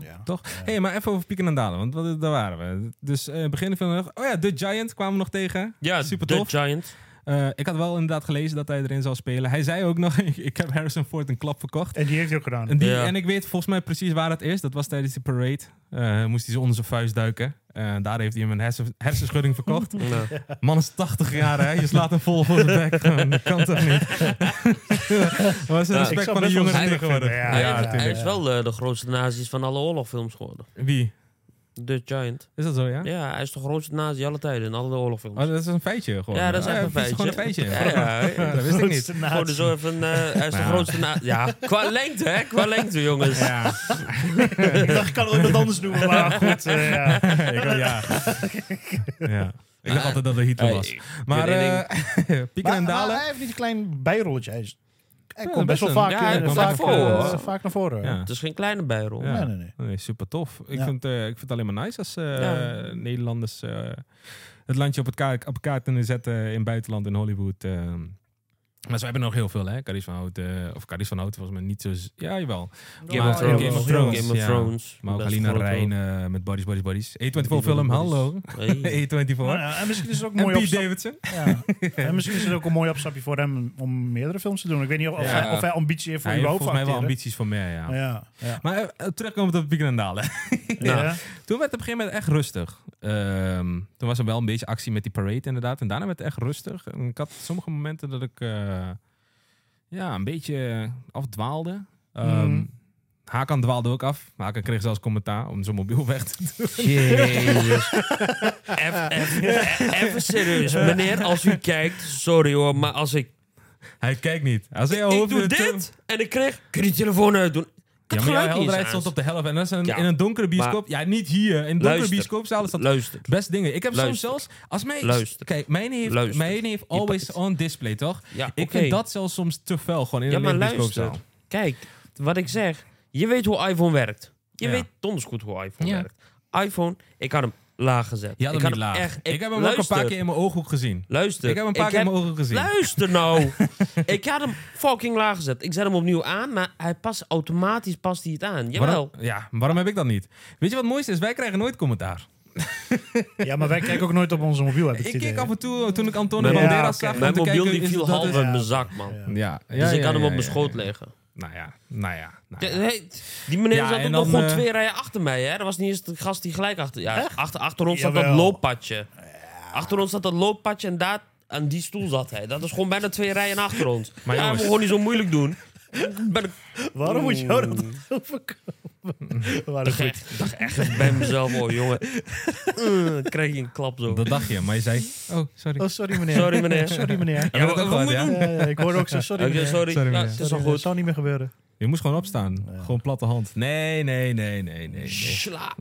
G: Ja.
F: Toch? Hé, hey, maar even over pieken en dalen, want wat- daar waren we. Dus eh begin van de dag, oh ja, The Giant kwamen we nog tegen.
H: Ja,
F: Super
H: The
F: tof. (laughs)
H: Giant.
F: Eh, ik had wel inderdaad gelezen dat hij erin zou spelen. Hij zei ook nog, (laughs) ik, ik heb Harrison Ford een klap verkocht.
G: En die heeft hij ook gedaan.
F: En, die,
H: Ja.
F: en ik weet volgens mij precies waar het is. Dat was tijdens de parade. Eh, moest hij zo onder zijn vuist duiken. Eh, daar heeft hij hem een hersen,
G: (laughs)
F: hersenschudding verkocht.
H: Ja.
F: Man is 80 jaar, hè? Je slaat hem vol voor de
G: (laughs)
F: bek. Gewoon, Dat kan toch niet? (laughs) was een
H: Ja,
G: ik zou
F: respect van
G: best
F: de
G: wel
F: jongeren
G: zielig
F: tegenwoordig.
G: vinden, ja.
H: hij,
G: ja,
H: is, hij
G: tuurlijk.
H: is wel eh, de grootste nazi's van alle oorlogfilms geworden.
F: Wie?
H: The Giant.
F: Is dat zo, ja?
H: Ja, hij is de grootste nazi alle tijden in alle oorlogfilms.
F: Oh, dat is een feitje gewoon.
H: ja, dat is
F: Oh,
H: echt een
F: dat
H: feitje.
F: gewoon een feitje.
H: Ja,
F: (laughs)
H: ja,
F: dat wist ik
G: Grootste
F: niet.
G: nazi.
H: Voor de zorg van, eh, hij is de
F: Ja.
H: grootste na- Ja, qua lengte, hè? Qua lengte, jongens.
F: (laughs) Ja,
G: ik dacht, (laughs) ik kan ook wat anders doen, maar goed. eh, ja.
F: ik,
H: (laughs)
F: ja. ja. Ik dacht altijd dat het Hitler
H: Hey,
F: was.
H: ik
F: Maar
H: weet één
F: eh (laughs) pieken
G: Maar,
F: en
G: maar
F: dalen.
G: hij heeft niet een klein bijrolletje. Hij, is- hij komt
F: best
G: best wel
F: een-
G: vaak,
H: ja,
G: eh,
H: hij komt
G: vaak,
H: vaak voor,
G: eh,
H: hoor.
G: vaak naar voren.
F: Ja.
H: Het is geen kleine bijrol.
F: Ja.
G: Nee, nee, nee.
F: Nee, super tof. Ik,
G: Ja.
F: vind, eh, ik vind het alleen maar nice als eh,
H: Ja.
F: Nederlanders eh, het landje op, het kaart, op elkaar kunnen zetten in het buitenland, in Hollywood. eh. maar ze hebben nog heel veel, hè? Caries van Houten, eh, of Caries van Houten was me niet zo... z- Ja, jawel.
H: Game,
F: Maar
H: of Thrones,
F: Game of Thrones,
H: Game of
F: ja.
H: Thrones.
F: Maar ook
H: Best
F: Alina
H: groot
F: Rijn
H: ook.
F: eh, met Bodies, Bodies, Bodies. A24
H: Bodies,
F: film,
H: Bodies.
F: hallo. (laughs)
H: Hey.
F: A24.
G: Nou ja, en misschien is
F: (laughs)
G: het ook een
F: en
G: mooi
F: Pete
G: opstap.
F: Davidson.
G: Ja. En misschien is het ook een mooi opstapje voor hem om meerdere films te doen. Ik weet niet of, of
F: Ja.
G: hij, of hij ambitie heeft voor
F: Hij heeft
G: überhaupt
F: volgens mij wel
G: acteren.
F: ambities voor meer, ja.
G: Ja,
F: (laughs)
G: ja.
F: Maar eh, terugkomend op Pieken en Dalen. (laughs)
G: Ja.
F: Toen werd het op een gegeven moment echt rustig. Ehm, toen was er wel een beetje actie met die parade inderdaad. En daarna werd het echt rustig. En ik had sommige momenten dat ik eh, ja, een beetje afdwaalde. Ehm
H: Mhm.
G: Mm.
F: Hakan dwaalde ook af. Hakan kreeg zelfs commentaar om zijn mobiel (laughs) weg te doen.
H: Jezus. Even- even- Even serieus. Meneer, als u kijkt, sorry hoor, maar als ik...
F: (laughs) Hij kijkt niet. Als hij "Oh,
H: Ik doe dit en ik kreeg... Kun je die telefoon uitdoen? Ik
F: Ja,
H: had
F: maar jouw
H: geluid niet
F: helderheid
H: eens aan.
F: stond op de helft. En dat is een,
H: Ja,
F: in een donkere bioscoop. Ja, niet hier. In een donkere
H: Luister.
F: bioscoopzaal is dat
H: Luister.
F: Best dingen. Ik heb
H: Luister.
F: soms zelfs... Als mij,
H: Luister.
F: Kijk, mijn heeft,
H: Luister.
F: mijn heeft
H: Je
F: always
H: pakt-
F: on display, toch?
H: Ja,
F: ik
H: oké.
F: vind dat zelfs soms te fel, gewoon in
H: Ja,
F: een
H: maar
F: lege
H: luister.
F: bioscoopzaal.
H: Kijk, wat ik zeg. Je weet hoe iPhone werkt. Je
F: Ja.
H: weet donders goed hoe iPhone
F: Ja.
H: werkt. iPhone, ik had hem laag gezet.
F: Je had
H: ik
F: hem niet laag.
H: echt-
F: ik, heb hem
H: luister,
F: ook een paar keer in mijn ooghoek gezien.
H: Luister.
F: Ik heb hem een paar keer in mijn ogen gezien. (laughs)
H: Luister nou. ik had hem fucking laag gezet. Ik zet hem opnieuw aan, maar hij past, automatisch past hij het aan. Jawel.
F: Waarom, ja, waarom heb ik dat niet? Weet je wat het mooiste is? Wij krijgen nooit commentaar.
G: ja, maar wij kijken ook nooit op onze mobiel, heb ik
F: Ik
G: het
F: keek
G: idee.
F: af en toe, eh, toen ik Antonio
G: Mijn-
F: Banderas
G: Ja, oké.
F: zag... om
H: Mijn
F: te
H: mobiel
F: kijken,
H: die
F: is
H: viel
F: dat
H: half
F: het-
H: uit mijn zak, man.
G: Ja.
F: Ja, ja,
H: dus ik
F: ja,
H: had hem
F: ja,
H: op mijn
F: ja,
H: schoot
F: ja.
H: leggen.
F: Nou ja, nou ja. Nou
H: Ja,
F: ja.
H: hey, Die meneer
F: Ja,
H: zat
F: en
H: ook nog
F: dan,
H: goed
F: eh,
H: twee rijen achter mij. Hè? Dat was niet eens de gast die gelijk achter... Ja, achter, achter ons zat
G: Jawel.
H: dat looppadje. Achter ons zat dat looppadje en daar aan die stoel zat hij. Dat is gewoon bijna twee rijen achter ons. Maar ja,
F: jongens-
H: we moeten gewoon niet zo moeilijk doen. Ik ben
G: Waarom moet jou dat overkomen? Maar
H: ik
G: goed.
H: echt, dacht echt bij mezelf, oh jongen. Eh, dan krijg je een klap zo.
F: Dat dacht je, maar je zei... Oh, sorry.
G: Oh, sorry meneer.
H: Sorry, meneer.
G: Sorry meneer.
H: Ja,
F: dat
H: wat-
F: ook
H: wat
F: wel,
H: moet
F: ja.
H: ik doen?
G: Ja, ja, ik hoorde ook zo sorry
H: Oké,
G: meneer.
H: sorry.
F: Sorry,
H: Ja,
F: meneer.
H: het is
G: Sorry,
H: al
G: meneer,
H: goed.
G: zou niet meer gebeuren.
F: Je moest gewoon opstaan. Gewoon platte hand. Nee, nee, nee, nee, nee. nee.
H: Sla.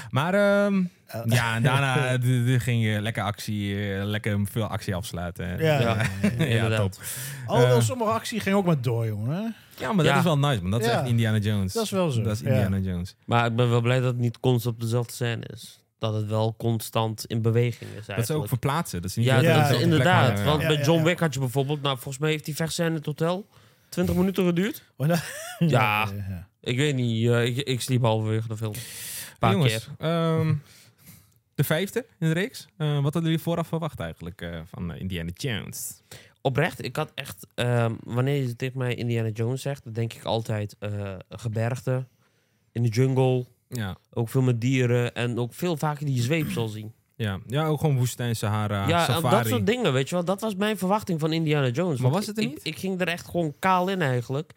F: (laughs) Maar ehm,
G: Eh.
F: ja, en
G: (laughs)
F: daarna d- d- ging je lekker actie, eh, lekker veel actie afsluiten. hè.
G: Ja.
H: Ja,
F: ja,
H: inderdaad.
F: top.
G: Alhoewel,
F: Eh.
G: sommige actie ging ook maar door, jongen.
F: Ja, maar dat
H: Ja.
F: is wel nice, man. Dat is
G: Ja.
F: echt Indiana Jones.
G: Dat is wel zo.
F: Dat is
G: Ja.
F: Indiana Jones.
H: Maar ik ben wel blij dat het niet constant op dezelfde scène is. dat het wel constant in beweging is
F: Dat ze ook
H: eigenlijk.
F: verplaatsen. Dat ze niet
H: ja,
F: weten
G: Ja,
H: dat
F: ze
H: is
F: op de plek
H: inderdaad.
F: hangen.
H: Want
G: Ja,
H: bij
G: ja,
H: John
G: ja.
H: Wick had je bijvoorbeeld... Nou, volgens mij heeft die vechtscène totaal 20 minuten geduurd.
F: (laughs)
G: Oh, nou-
H: Ja.
G: ja.
H: Ik weet niet, eh, ik, ik sliep halverwege de film. Een paar
F: Jongens,
H: keer.
F: ehm, de vijfde in de reeks. Eh, wat hadden jullie vooraf verwacht eigenlijk eh, van eh, Indiana Jones?
H: Oprecht, ik had echt... ehm, wanneer je tegen mij Indiana Jones zegt... dan denk ik altijd eh, gebergte, in de jungle...
F: Ja,
H: Ook veel met dieren en ook veel vaker die zweepsel zien.
F: ja. ja ook gewoon woestijn, Sahara,
H: ja, en
F: safari.
H: dat soort dingen, weet je wel. Dat was mijn verwachting van Indiana Jones.
F: Maar
H: Want
F: was het er
H: ik,
F: niet?
H: Ik ging er echt gewoon kaal in eigenlijk.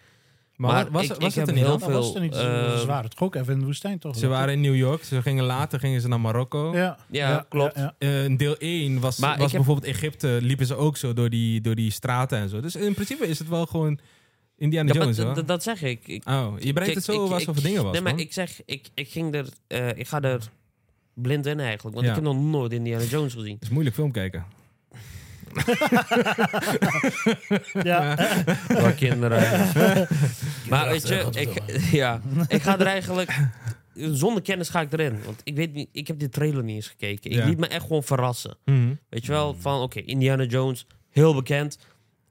F: maar,
H: maar
F: was,
H: ik-
F: was
H: ik
F: het
H: heb
F: er niet
H: heel
F: dan?
G: Dat was er
H: veel,
G: niet. Ze
H: eh,
G: ze waren toch ook even in de woestijn, toch?
F: Oh, Ze waren in New York. Ze gingen later gingen ze naar Marokko.
G: Ja,
H: Ja, klopt.
G: ja,
F: Eh, in deel 1 was,
H: Maar
F: was
H: ik heb-
F: bijvoorbeeld Egypte. Liepen ze ook zo door die, door die straten en zo. Dus in principe is het wel gewoon Indiana
H: Ja, maar
F: Jones,
H: d-
F: hoor.
H: d- dat zeg ik. ik
F: Oh, je brengt
H: kijk,
F: het zo
H: ik-
F: waar
H: ik-
F: zoveel dingen was.
H: nee, maar
F: man.
H: ik zeg, ik, ik ging er... eh, ik ga er blind in eigenlijk. Want
F: Ja.
H: ik heb nog nooit Indiana Jones
F: (laughs)
H: gezien.
F: Het is moeilijk film kijken.
G: ja. ja.
H: Waar kinderen... (laughs) maar weet je, ik, (laughs) ja, ik ga er eigenlijk... Zonder kennis ga ik erin. Want ik weet niet, ik heb die trailer niet eens gekeken. Ik
F: Ja.
H: liet me echt gewoon verrassen.
F: Mhm.
H: Weet je wel, van oké, Indiana Jones, heel bekend.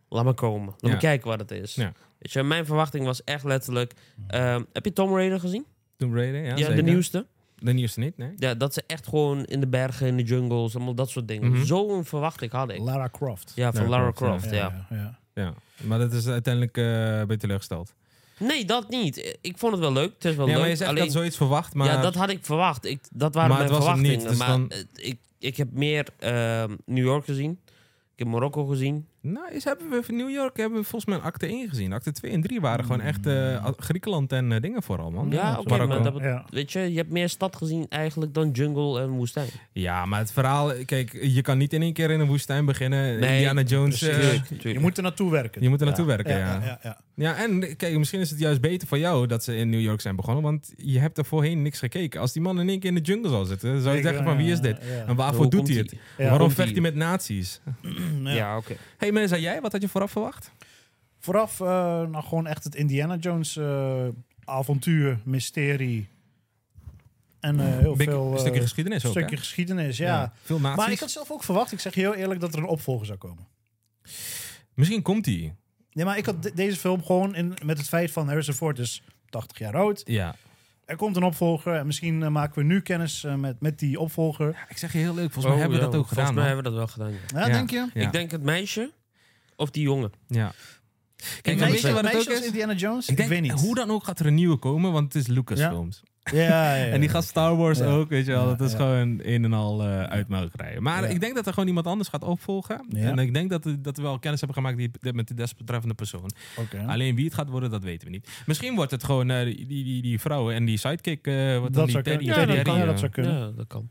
H: Laat maar komen. Laat
F: Ja.
H: maar kijken wat het is.
F: Ja.
H: Weet je, mijn verwachting was echt letterlijk... ehm, heb je Tom Raider gezien?
F: Tomb Raider, ja,
H: Ja, de
F: zeker.
H: nieuwste.
F: De nieuwste niet, nee.
H: Ja, dat ze echt gewoon in de bergen, in de jungles, allemaal dat soort dingen.
F: Mhm.
H: Zo'n verwachting had ik.
G: Lara Croft.
H: Ja, van
F: Ja,
H: Lara
F: klopt, ja.
H: Croft, ja.
G: ja. ja.
F: Ja. Maar dat is uiteindelijk eh een beetje teleurgesteld.
H: Nee, dat niet. Ik vond het wel leuk. Het is wel
F: ja,
H: leuk.
F: maar je zegt
H: Alleen,
F: dat zoiets verwacht, maar...
H: Ja, dat had ik verwacht. Ik, dat waren
F: Maar
H: mijn
F: het was hem
H: verwachtingen.
F: niet, dus
H: maar
F: dan-
H: eh, ik, ik heb meer ehm, New York gezien. Ik heb Marokko gezien.
F: Nou, is, hebben we van New York hebben we volgens mij acte 1 gezien. Acte 2 en 3 waren gewoon echt eh, A- Griekenland en eh, dingen vooral, man.
H: Ja, oké,
F: Marokko.
H: maar dat bet-
G: Ja.
H: weet je, je hebt meer stad gezien eigenlijk dan jungle en woestijn.
F: Ja, maar het verhaal... Kijk, je kan niet in één keer in een woestijn beginnen.
H: Nee,
F: Indiana Jones... eh,
G: Je moet er naartoe werken.
F: je moet er naartoe werken, ja.
G: ja,
F: Ja,
G: ja, ja.
F: en kijk, misschien is het juist beter voor jou dat ze in New York zijn begonnen. Want je hebt er voorheen niks gekeken. Als die man in één keer in de jungle zou zitten, dan zou je
G: Ik,
F: zeggen
G: ja,
F: van wie is dit?
G: ja, ja.
F: En waarvoor
H: Hoe
F: doet
H: komt
F: hij het?
H: die?
G: Ja.
F: Waarom
H: komt
F: vecht
H: die?
F: hij met nazi's?
H: Ja,
G: Ja.
H: oké.
F: hey, mensen, jij, wat had je vooraf verwacht?
G: Vooraf eh, nou gewoon echt het Indiana Jones eh, avontuur, mysterie. En eh, heel
F: Big-
G: veel...
F: een
G: eh,
F: stukje geschiedenis ook,
G: stukje
F: hè?
G: geschiedenis, ja.
F: Veel nazi's.
G: Maar ik had zelf ook verwacht, ik zeg je heel eerlijk, dat er een opvolger zou komen.
F: Misschien komt hij.
G: Nee, maar ik had de- deze film gewoon in, met het feit van Harrison Ford is 80 jaar oud.
F: Ja.
G: Er komt een opvolger en misschien eh, maken we nu kennis eh, met, met die opvolger.
F: Ik zeg je heel leuk, volgens mij
H: Oh,
F: hebben we
H: ja,
F: dat ook gedaan.
H: Volgens mij
F: man.
H: hebben we dat wel gedaan. ja.
G: Ja,
F: Ja.
G: denk je?
F: Ja.
H: Ik denk het meisje of die jongen.
F: Ja. Kijk,
H: Een
F: maar weet
G: Meisje-
F: je wat het ook
G: meisje als
F: is?
G: Indiana Jones?
F: Ik, denk,
G: weet niet.
F: Hoe dan ook gaat er een nieuwe komen, want het is Lucasfilms.
G: Ja, ja, ja.
F: En die gaat Star Wars
G: Ja.
F: ook, weet je wel. Dat is
G: Ja, ja.
F: gewoon een en al eh uitmelkerij. Maar
G: Ja.
F: ik denk dat er gewoon iemand anders gaat opvolgen.
G: Ja.
F: En ik denk dat, dat we wel kennis hebben gemaakt die, die- met de desbetreffende persoon.
G: Oké.
F: Alleen wie het gaat worden, dat weten we niet. Misschien wordt het gewoon eh, die, die, die, die vrouw en die sidekick. eh, wat dan
G: Dat
F: die
G: zou
F: Teddy,
G: kunnen. Ja,
F: Teddy
G: dat, kan, ja,
F: Harry,
G: dat
F: eh.
G: zou kunnen.
H: Ja, dat kan.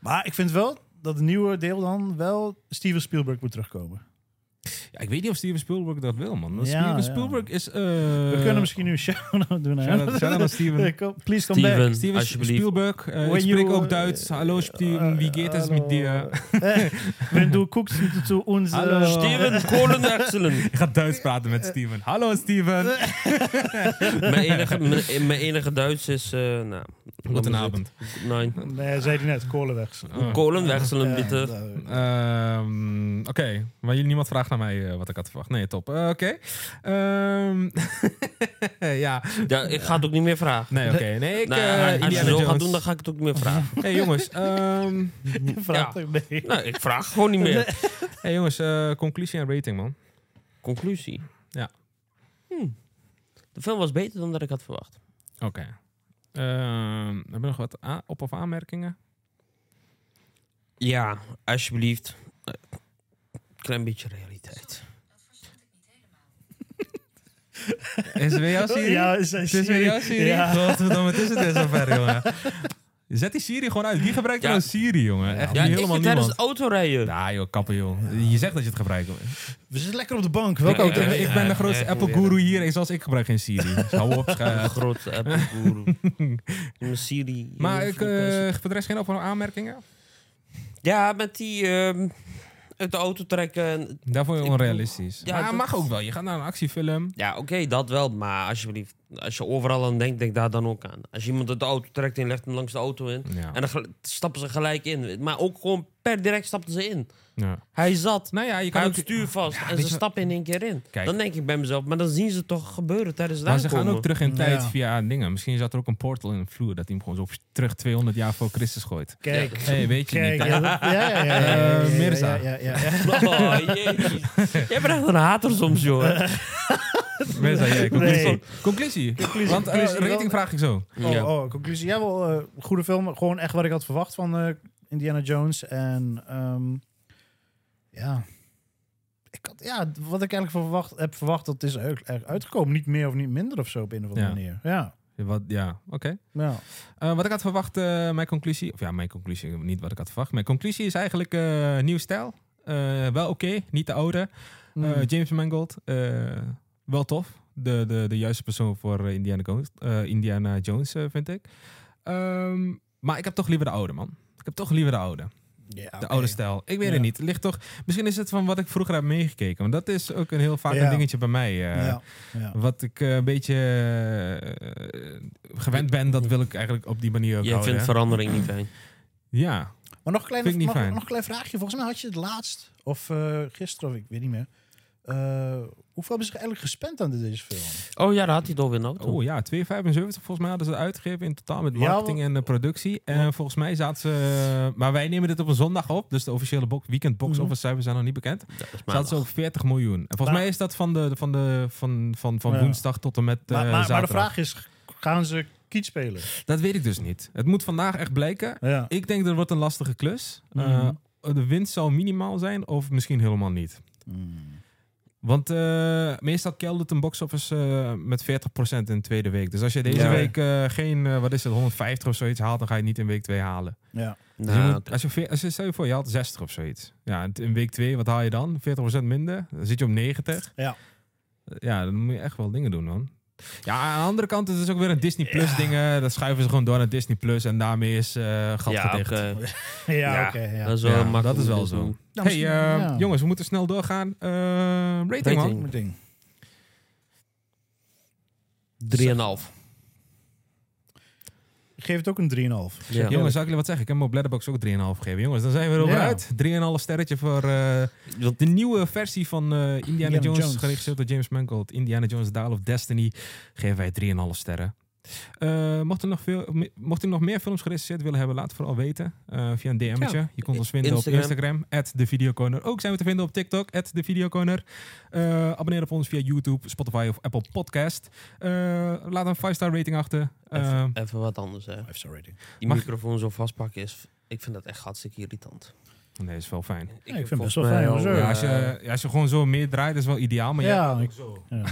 G: Maar ik vind wel dat het nieuwe deel dan wel Steven Spielberg moet terugkomen.
F: eh. Ja, ik weet niet of Steven Spielberg dat wil, man. Want
G: Ja,
F: Steven
G: ja.
F: Spielberg is... eh
G: We kunnen misschien nu een shout-out doen. (laughs) hè?
F: Shout-out- shout-out aan Steven.
G: Kom- Please come back.
H: Steven,
F: Steven
H: alsjeblieft.
F: Spielberg, eh, ik
G: When
F: spreek
G: you,
F: ook Duits.
G: eh,
F: Hallo Steven, wie geht es mit dir?
G: (laughs) Wenn du guckst zu uns... eh,
F: eh, Hallo.
H: Steven
F: (laughs)
H: Colin Excellent.
F: Ik ga Duits praten met Steven. Hallo Steven.
H: Eh. Mijn enige, mijn, mijn enige Duits is... eh nou,
F: Goedenavond.
H: Nee.
G: Nee, zei hij net, Kolenwegs.
F: Oh.
H: Colin Excellent,
G: Ja,
H: bitte.
G: nou,
F: Ehm, Oké, maar jullie niemand vraagt naar mij eh, wat ik had verwacht. Nee, top. Eh, Oké. Ehm, (laughs) ja,
H: Ja, ik ga het ook niet meer vragen.
F: nee, oké. Nee, ik.
H: Nou,
F: eh,
H: ja, als je
F: Indiana
H: zo gaat
F: Jones.
H: doen, dan ga ik het ook niet meer
F: (laughs)
H: vragen.
F: Hey jongens, ehm,
G: je vraagt hem mee.
H: nou, ik vraag gewoon niet meer.
F: hey, jongens eh, conclusie en rating, man.
H: Conclusie.
F: Ja.
H: Hm. De film was beter dan dat ik had verwacht.
F: Oké. Ehm, hebben we nog wat a- op- of aanmerkingen?
H: Ja, alsjeblieft. Eh, Klein beetje realiteit.
F: Is het weer jouw
H: (laughs)
F: Siri?
G: Ja, is
F: het is weer jouw Siri?
G: Ja.
F: Godverdomme, het is het in zover, jongen. Zet die Siri gewoon uit. Wie gebruikt
H: Ja.
F: nou Siri, jongen? Echt
H: Ja,
F: niet
H: ik
F: helemaal
H: vind tijdens
F: niemand.
H: het autorijden.
F: Nou joh, kappen joh. Je zegt dat je het gebruikt. hoor. eh,
G: We zitten lekker op de bank. Welke
H: Ja,
F: Ik,
G: auto?
H: ja, ja.
F: ik ben de grootste
H: ja,
F: Apple
H: probeer
F: guru hier. en Zoals ik gebruik geen (laughs) Siri. Dus hou op.
H: Een
F: schuif.
H: Eh, grote Apple guru.
F: (laughs)
H: Een Siri.
F: maar
H: Een
F: ik, eh,
H: frequentie.
F: voor de rest geen op- aanmerkingen?
H: Ja, met die... ehm, uit de auto trekken. en-
F: Daarvoor je
H: Ik-
F: onrealistisch.
H: Ja,
F: maar
H: dat-
F: mag ook wel. Je gaat naar een actiefilm.
H: Ja, oké, dat wel. Maar alsjeblieft, als je overal aan denkt, denk daar dan ook aan. Als je iemand uit de auto trekt en je legt hem langs de auto in.
F: Ja.
H: En dan gel- stappen ze gelijk in. Maar ook gewoon per direct stapten ze in.
F: Ja.
H: Hij zat.
F: Nou ja, je kan
H: Hij
F: ook...
H: houdt het stuur vast en
F: weet
H: ze
F: je-
H: stappen in één keer in.
F: Kijk.
H: Dan denk ik bij mezelf, maar dan zien ze het toch gebeuren tijdens het
F: Maar ze gaan
H: aankomen.
F: ook terug in tijd
G: Ja.
F: via dingen. Misschien zat er ook een portal in de vloer dat hij hem gewoon zo terug 200 jaar voor Christus gooit.
G: Kijk.
F: hey, weet je
G: Kijk,
F: niet.
G: ja, dat- ja, ja, ja, ja, ja, ja,
F: Eh,
G: ja,
F: Mirza.
G: ja, ja, ja, ja.
H: (laughs) Oh, jezus. Jij bent echt een hater soms, joh.
F: Mirza, jij, conclusie.
G: Nee.
F: conclusie. Want eh,
G: Conclusie wel.
F: rating vraag ik zo.
H: Ja.
G: Oh, oh, conclusie. Ja, wel eh, goede film. Gewoon echt wat ik had verwacht van eh, Indiana Jones. En ehm, ja. Ik had, ja, wat ik eigenlijk verwacht, heb verwacht, dat is ook echt uitgekomen. Niet meer of niet minder of zo op een of andere
F: Ja.
G: manier. Ja.
F: Wat, ja, oké.
G: ja.
F: Eh, wat ik had verwacht, eh, mijn conclusie... Of ja, mijn conclusie, niet wat ik had verwacht. Mijn conclusie is eigenlijk eh nieuw stijl. Eh, wel oké, niet de oude.
G: Mm.
F: Eh, James Mangold, eh, wel tof. De, de, de juiste persoon voor eh, Indiana Jones, eh, Indiana Jones eh, vind ik. Ehm, maar ik heb toch liever de oude, man. Ik heb toch liever de oude.
G: Ja,
F: De
G: oké.
F: oude stijl. Ik weet
G: Ja.
F: het niet. Ligt toch, misschien is het van wat ik vroeger heb meegekeken. Want dat is ook een heel vaak
G: Ja.
F: een dingetje bij mij. eh,
G: ja. ja.
F: Wat ik eh, een beetje eh, gewend ben, dat wil ik eigenlijk op die manier ook
H: Jij
F: houden,
H: vindt
F: hè.
H: verandering niet fijn.
F: Ja.
G: Maar nog een, klein,
F: Vind ik niet
G: nog,
F: fijn.
G: nog een klein vraagje. Volgens mij had je het laatst, of eh, gisteren, of ik weet niet meer. Eh, hoeveel hebben ze eigenlijk gespend aan deze film?
H: Oh ja, daar had hij het over in de auto.
F: Oh ja, 2,75 volgens mij hadden ze het uitgegeven in totaal met
G: Ja,
F: marketing en eh, productie. En volgens mij zaten ze... Maar wij nemen dit op een zondag op, dus de officiële bo- weekend box office cijfers zijn nog niet bekend.
H: Dat is
F: Zaten
H: maandag.
F: ze op 40 miljoen. En volgens
G: Mhm. Maar-
F: mij is dat van, de, van, de, van, van, van
G: Ja.
F: woensdag tot en met eh
G: Maar, maar, maar de
F: zaterdag.
G: vraag is, gaan ze kiet spelen?
F: Dat weet ik dus niet. Het moet vandaag echt blijken.
G: Ja.
F: Ik denk dat wordt een lastige klus. Eh,
G: Mhm.
F: de winst zal minimaal zijn of misschien helemaal niet.
G: Mhm.
F: Want eh, meestal keldert een box-office eh, met 40% in de tweede week. Dus als je deze
G: Ja.
F: week eh, geen, eh, wat is het, 150 of zoiets haalt, dan ga je het niet in week 2 halen.
G: Ja.
F: Dus je
H: Nou,
F: moet- als je, veer- als je, stel je voor, je haalt 60 of zoiets. Ja, en t- in week 2, wat haal je dan? 40% minder? Dan zit je op 90.
G: Ja.
F: Ja, dan moet je echt wel dingen doen, man. Ja, aan de andere kant is het ook weer een Disney Plus dingen. Dat schuiven ze gewoon door naar Disney Plus en daarmee is eh gat
H: ja,
F: gedicht.
H: oké.
G: Ja,
H: Ja,
G: oké. ja.
H: Dat is wel
F: Ja,
H: makkelijk.
F: dat is wel
H: te
F: zo.
H: doen.
G: Nou,
F: hey,
G: misschien-
F: eh,
G: ja.
F: jongens, we moeten snel doorgaan. Eh, rating, man.
H: Rating.
G: Mijn ding.
H: 3,5.
G: Ik geef het ook een 3,5.
H: Ja.
F: Jongens, zou ik jullie wat zeggen? Ik heb hem op Bladderbox ook 3,5 gegeven. Jongens, dan zijn we erover
G: Ja.
F: uit. 3,5 sterretje voor eh, de nieuwe versie van eh, Indiana
G: Indiana
F: Jones,
G: Jones.
F: geregisseerd door James Mangold. Indiana Jones, Dial of Destiny. Geven wij 3,5 sterren. Eh, mocht, u nog veel, me- mocht u nog meer films gerecenseerd willen hebben, laat het vooral weten eh, via een DM'tje.
H: Ja.
F: Je kunt ons vinden
H: Instagram.
F: op Instagram, @thevideocorner. Ook zijn we te vinden op TikTok, @thevideocorner. Eh, abonneer op ons via YouTube, Spotify of Apple Podcast. Eh, laat een 5-star rating achter. Eh,
H: Even, even wat anders, hè.
G: Five star rating.
H: Die
F: Mag-
H: microfoon zo vastpakken is... Ik vind dat echt hartstikke irritant.
F: Eh, nee, is wel fijn.
H: Ik,
G: vind het best wel
H: volgens mij
G: fijn,
H: al,
G: hoor, zo.
F: Ja,
H: eh,
F: als, je, ja, als je gewoon zo meer draait, is wel ideaal. Maar, ja.
G: Ja, ik- ja.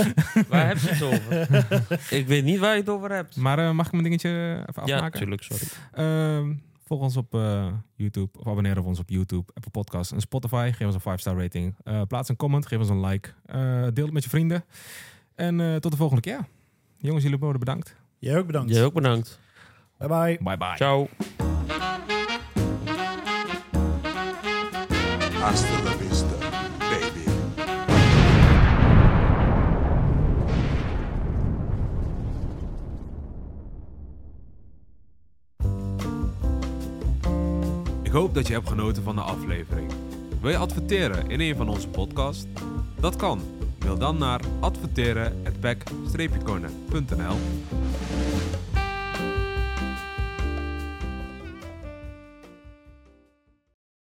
H: (laughs) Waar heb je het over? ik weet niet waar je het over hebt.
F: maar eh, mag ik mijn dingetje even
H: Ja,
F: afmaken?
H: natuurlijk, sorry.
F: Ehm, volg ons op eh, YouTube. Of abonneer op ons op YouTube, Apple Podcasts en Spotify. Geef ons een 5-star rating. Eh, plaats een comment, geef ons een like. Eh, deel het met je vrienden. En eh, tot de volgende keer. Jongens, jullie worden bedankt.
G: Jij ook bedankt.
H: Jij ook bedankt.
G: Bye bye.
F: Bye bye.
H: Ciao.
D: Hasta la vista, baby.
E: Ik hoop dat je hebt genoten van de aflevering. Wil je adverteren in een van onze podcasts? Dat kan. Mail dan naar adverteren@back-corner.nl